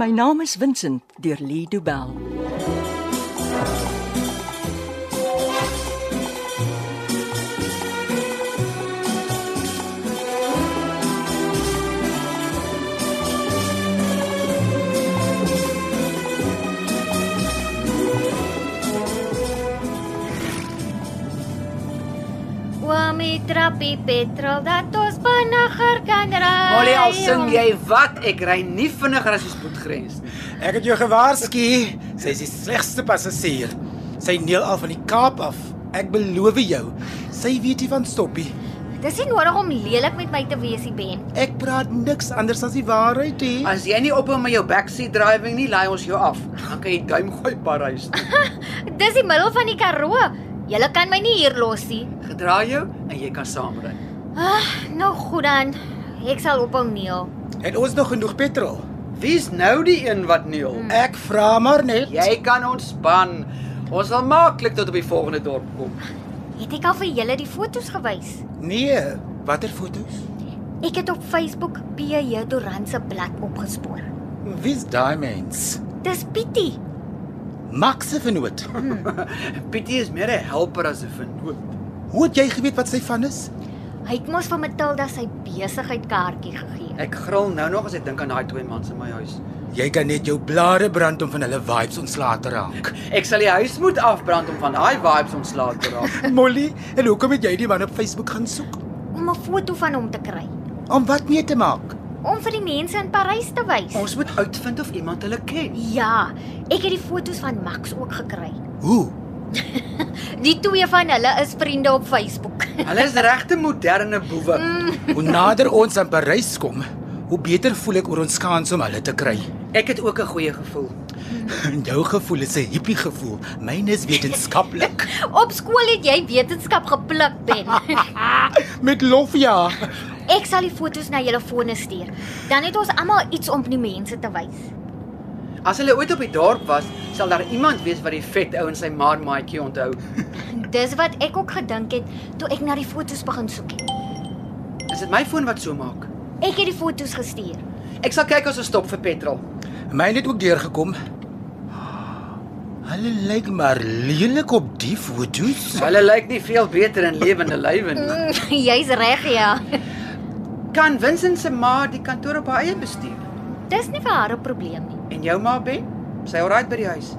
My naam is Vincent deur Lee Du Bell. Oomie trappie petrol dat ons vinniger kan ry. Molly, al sing ja. jy wat, ek ry nie vinniger as die spoedgrens nie. Ek het jou gewaarsku. Sy is die slegste passasier. Sy neel al van die Kaap af. Ek beloof jou. Sy weet nie van stoppie. Dis nie nodig om lelik met my te wees, nie, Ben. Ek praat niks anders as die waarheid hè. As jy nie ophou met jou backseat driving nie, laai ons jou af. Dan kan jy duim gooi Parys. toe. Dis die middel van die Karoo. Julle kan my nie hier los nie. Gedra jou en jy kan saamry. Ah, nou goed dan. Ek sal ophou neel. Het ons nog genoeg petrol? Wie's nou die een wat neel? Ek vra maar net. Jy kan ontspan. Ons sal maklik tot op die volgende dorp kom. Het ek al vir julle die foto's gewys? Nee, watter foto's? Ek het op Facebook PJ Doran se blad opgespoor. Wie's daai mens? Dis Pietie. Max se vernoot. Pietie is meer 'n helper as 'n vernoot. Hoe het jy geweet wat sy van is? Hy het mos vir Matilda sy besigheidkaartjie gegee. Ek gril nou nog as ek dink aan daai twee mans in my huis. Jy kan net jou blare brand om van hulle vibes ontslae te raak. Ek sal die huis moet afbrand om van daai vibes ontslae te raak. Molly, en hoekom het jy die man op Facebook gaan soek? Om 'n foto van hom te kry. Om wat mee te maak? Om vir die mense in Parys te wys. Ons moet uitvind of iemand hulle ken. Ja, ek het die foto's van Max ook gekry. Hoe? Die twee van hulle is vriende op Facebook. Hulle is regte moderne boewe. Hoe nader ons aan Parys kom, hoe beter voel ek oor ons kans om hulle te kry. Ek het ook 'n goeie gevoel. Jou gevoel is 'n hippie gevoel, myne is wetenskaplik. Op skool het jy wetenskap gepluk, Ben. Met lof ja. Ek sal die foto's na julle fone stuur. Dan het ons almal iets om die mense te wys. As hulle ooit op die dorp was, sal daar iemand wees wat die vet ou en sy maar maatjie onthou. Dis wat ek ook gedink het toe ek na die foto's begin soek het. Is dit my foon wat so maak? Ek het die foto's gestuur. Ek sal kyk as ons stop vir petrol. Myne het ook deurgekom. Hulle lyk maar lelik op die foto's. Hulle lyk nie veel beter in lewende lywe nie. Jy's reg, ja. Kan Vincent se ma die kantoor op haar eie bestuur? Dis nie vir haar 'n probleem nie. En jou ma Ben? Sy alraai by die huis.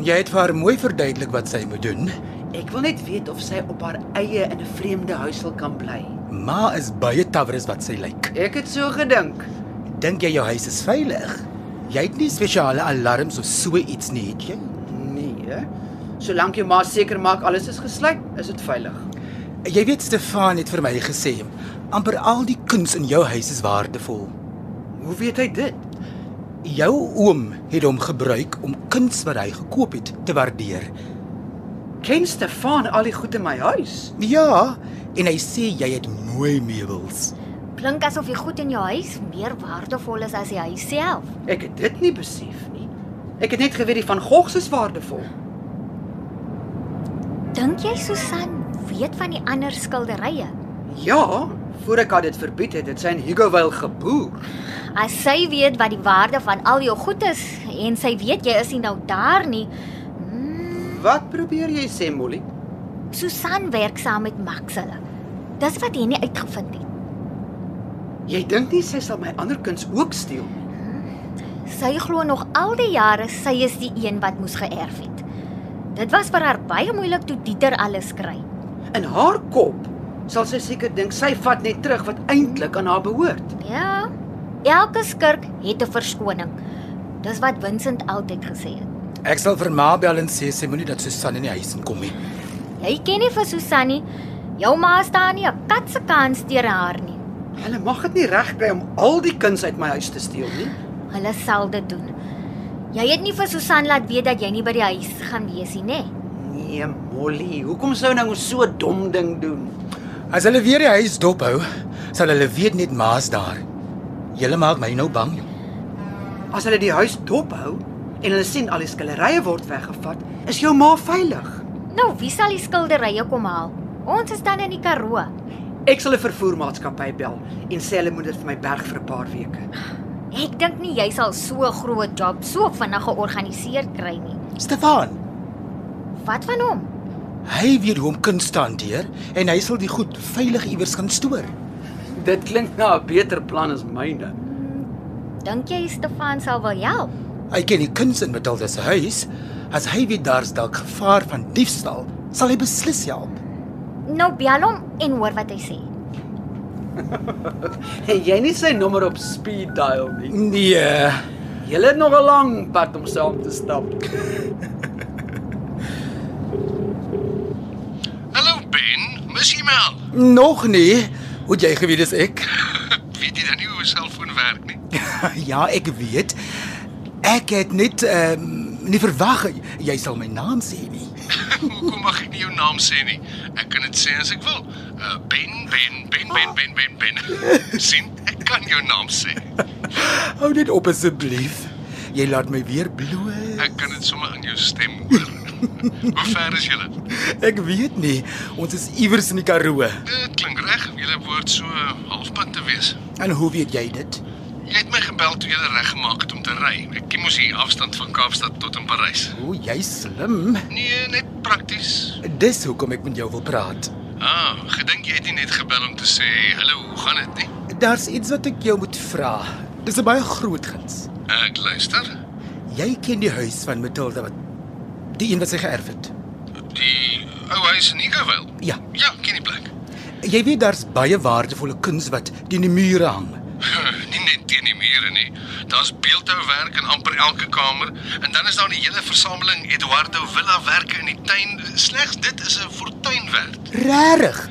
Jy het vir haar mooi verduidelik wat sy moet doen. Ek wil net weet of sy op haar eie in 'n vreemde huis sal kan bly. Ma is baie tawres wat sy lyk. Ek het so gedink. Dink jy jou huis is veilig? Jy het nie spesiale alarms of so iets nie, het jy? Nee, hè? Solank jou ma seker maak alles is gesluit, is dit veilig. Jy weet Stefan het vir my gesê, amper al die kuns in jou huis is waardevol. Hoe weet hy dit? Jou oom het hom gebruik om kuns wat hy gekoop het te waardeer. Ken Stefan al die goed in my huis? Ja, en hy sê jy het mooi meubels. Klink asof die goed in jou huis meer waardevol is as die huis self. Ek het dit nie besef nie. Ek het net geweet die van Gogh se is waardevol. Dink jy Susan weet van die ander skilderye? Ja, voor ek haar dit verbied het, het sy in Hugoville geboer. As sy weet wat die waarde van al jou goed is en sy weet jy is nie nou daar nie. Hmm, Wat probeer jy sê, Molly? Susan werk saam met Max hulle. Dis wat hy nie uitgevind het. Jy dink nie sy sal my ander kuns ook steel nie? Sy glo nog al die jare sy is die een wat moes geërf het. Dit was vir haar baie moeilik toe Dieter alles kry. In haar kop sal sy seker dink sy vat net terug wat eintlik aan haar behoort. Ja, elke skurk het 'n verskoning. Dis wat Vincent altyd gesê het. Ek sal vir Ma bel en sê sy moenie dat Susan in die huis inkom nie. Jy ken nie vir Susan nie. Jou ma staan nie 'n kat se kans deur haar nie. Hulle mag dit nie regkry om al die kuns uit my huis te steel nie. Hulle sal dit doen. Jy het nie vir Susan laat weet dat jy nie by die huis gaan wees nie, né? Nee, Molly, hoekom sou nou so 'n dom ding doen? As hulle weer die huis dophou, sal hulle weet net Ma's daar. Julle maak my nou bang. As hulle die huis dophou en hulle sien al die skillerye word weggevat, is jou ma veilig. Nou, wie sal die skilderye kom haal? Ons is dan in die Karoo. Ek sal 'n vervoermaatskappy bel en sê hulle moet dit vir my berg vir 'n paar weke. Ek dink nie jy sal so 'n groot job so vinnig georganiseer kry nie. Stefan, Wat van hom? hy weet hoe om kuns te hanteer en hy sal die goed veilig iewers kan stoor. Dit klink na 'n beter plan as myne. Dink jy Stefan sal wil help? Hy ken die kuns in Matilda se huis. As hy weet daar's dalk gevaar van diefstal, sal hy beslis help. Nou bel hom en hoor wat hy sê. En jy nie sy nommer op speed dial nie. Nee, Jy het nog 'n lang pad om saam te stap. Hallo Ben, mis jy my al? nog nie. Hoe het jy geweet dis ek? Weet jy dan nie hoe 'n selfoon werk nie? ja, ek weet. Ek het net ehm um, nie verwag jy sal my naam sê nie. Hoekom mag ek nie jou naam sê nie? Ek kan dit sê as ek wil. Uh, ben, Ben, Ben, Ben, Ben, Ben, Ben. sien, ek kan jou naam sê. Hou dit op asseblief. Jy laat my weer bloos. Ek kan dit sommer in jou stem hoor. Hoe ver is julle? Ek weet nie. Ons is iewers in die Karoo. Dit klink reg. Julle behoort so uh, halfpad te wees. En hoe weet jy dit? Jy het my gebel toe jy reg gemaak het om te ry. Ek ken mos die afstand van Kaapstad tot in Parys. O, jy's slim. Nee, net prakties. Dis hoekom ek met jou wil praat. Ah, gedink jy het nie net gebel om te sê, "Hallo, hoe gaan dit nie?" Daar's iets wat ek jou moet vra. Dis 'n baie groot guns. Ek luister. Jy ken die huis van Matilda wat die een wat sy geërf het. Die ou huis in Ikewyl. Ja. Ja, ken die plek. Jy weet daar's baie waardevolle kuns wat teen die mure hang. nie net teen die mure nie. Daar's beeldhouwerk in amper elke kamer en dan is daar die hele versameling Eduardo Villawerke in die tuin. Slegs dit is 'n fortuin werd. Regtig?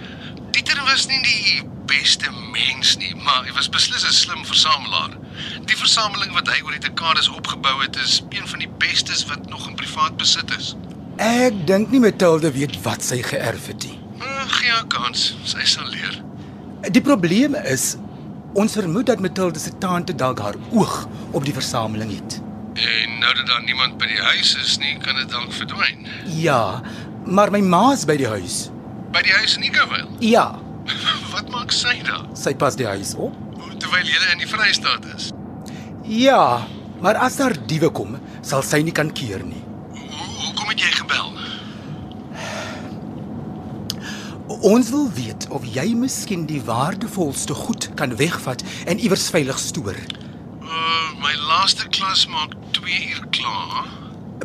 Pieter was nie die beste mens nie, maar hy was beslis 'n slim versamelaar. Die versameling wat hy oor die dekades opgebou het, is een van die bestes wat nog in privaat besit is. Ek dink nie Matilda weet wat sy geërf het nie. Uh, Gee haar kans, sy sal leer. Die probleem is ons vermoed dat Matilda se tante dalk haar oog op die versameling het. En nou dat daar niemand by die huis is nie, kan dit dalk verdwyn. Ja, maar my ma's by die huis. By die huis in Ikewyl. Ja, Wat maak sy daar? sy pas die huis op. Terwyl jy in die Vrystaat is. Ja, maar as daar diewe kom, sal sy nie kan keer nie. Hoe hoekom het jy gebel? Ons wil weet of jy miskien die waardevolste goed kan wegvat en iewers veilig stoor. Uh, my laaste klas maak 2 uur klaar.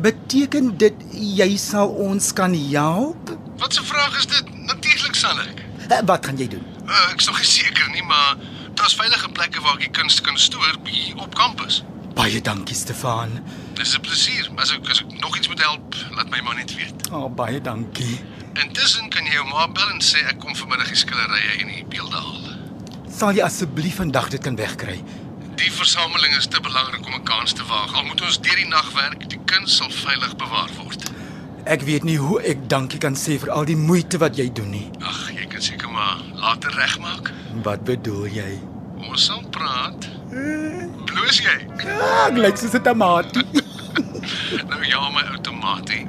Beteken dit jy sal ons kan help? Wat 'n vraag is dit? Natuurlik sal ek. Eh, Wat gaan jy doen? Uh, ek's nog nie seker nie, maar daar's veilige plekke waar ek die kunst kan stoor hier op kampus. Baie dankie Stefan. Dis 'n plesier. As ek as ek nog iets moet help, laat my maar net weet. O, oh, baie dankie. Intussen kan jy jou ma bel en sê ek kom vanmiddag die skillerye en die beelde haal. Sal jy asseblief vandag dit kan wegkry? Die versameling is te belangrik om 'n kans te waag. Al moet ons deur die nag werk, die kuns sal veilig bewaar word. Ek weet nie hoe ek dankie kan sê vir al die moeite wat jy doen nie. Ag, jy kan seker maar later regmaak. Wat bedoel jy? Ons sal praat. Bloos jy? Ah, ek lyk soos 'n tamatie. Nou ja, my outomatie.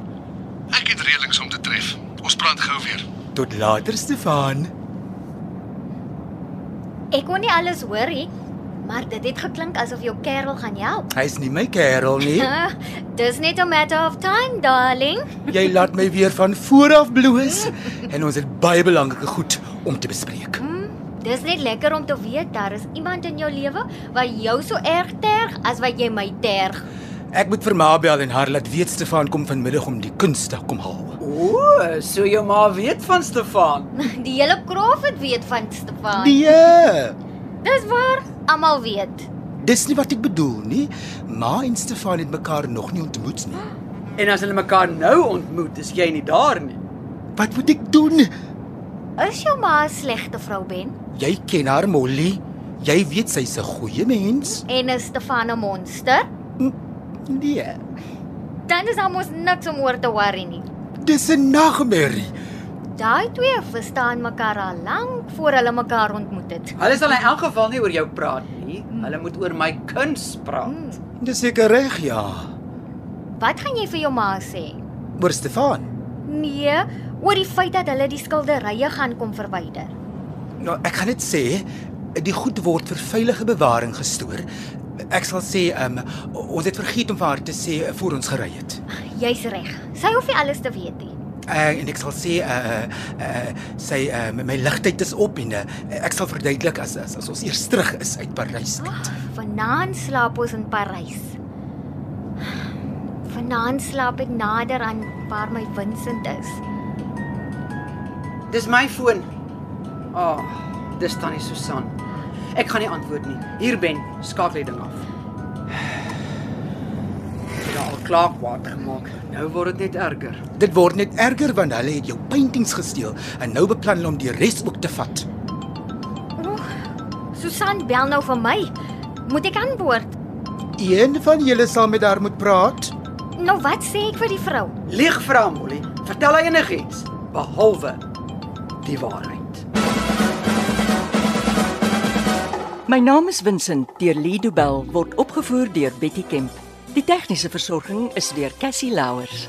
Ek het reëlings om te tref. Ons praat gou weer. Tot later Stefan. Ek kon nie alles hoor nie, maar dit het geklink asof jou kerel gaan help. Hy's nie my kerel nie. Uh, dis net 'n matter of time, darling. Jy laat my weer van voor af bloos en ons het baie belangrike goed om te bespreek. Hmm, Dis net lekker om te weet daar is iemand in jou lewe wat jou so erg terg as wat jy my terg. Ek moet vir Ma bel en haar laat weet Stefan kom vanmiddag om die kuns te kom haal. O, so jou ma weet van Stefan. Die hele Crawford weet van Stefan. Nee, Dis waar, almal weet. dis nie wat ek bedoel nie. Ma en Stefan het mekaar nog nie ontmoet nie. En as hulle mekaar nou ontmoet, is jy nie daar nie. Wat moet ek doen? Is jou ma 'n slegte vrou ben Jy ken haar Molly. Jy weet sy's 'n goeie mens. en is Stefan 'n monster? Nee, Dan is daar mos niks om oor te worry nie. dis 'n nagmerrie. Daai twee verstaan mekaar al lank voor hulle mekaar ontmoet het. Hulle sal in elk geval nie oor jou praat nie. Hulle moet oor my kuns praat. Hmm. Dis seker reg, ja. Wat gaan jy vir jou ma sê? Oor Stefan. Nee, oor die feit dat hulle die skilderye gaan kom verwyder. Nou, ek gaan dit sê, die goed word vir veilige bewaring gestoor Ek sal sê, ehm um, ons het vergeet om vir haar te sê eh, voor ons gery het. Jy's reg. Sy hoef nie alles te weet nie. Uh, en ek sal sê uh uh sy uh my ligtheid is op en uh, ek sal verduidelik as as, as ons eers terug is uit Parys uit. Vanaand slaap ons in Parys. Vanaand slaap ek nader aan waar my Vincent is. Dis my foon. Ah, oh, dis tannie Susan. Ek gaan nie antwoord nie. Hier ben, skakel die ding af. Ek het al klaar kwaad gemaak. Nou word dit net erger. Dit word net erger want hulle het jou paintings gesteel en nou beplan hulle om die res ook te vat. Oeg, Susan bel nou vir my. Moet ek antwoord? Een van julle sal met haar moet praat. Nou wat sê ek vir die vrou? Lieg vir hom, Molly. Vertel hy enigiets behalwe die waarheid. My naam is Vincent deur Lido Bell word opgevoer deur Betty Kemp. Die tegniese versorging is deur Cassie Louers.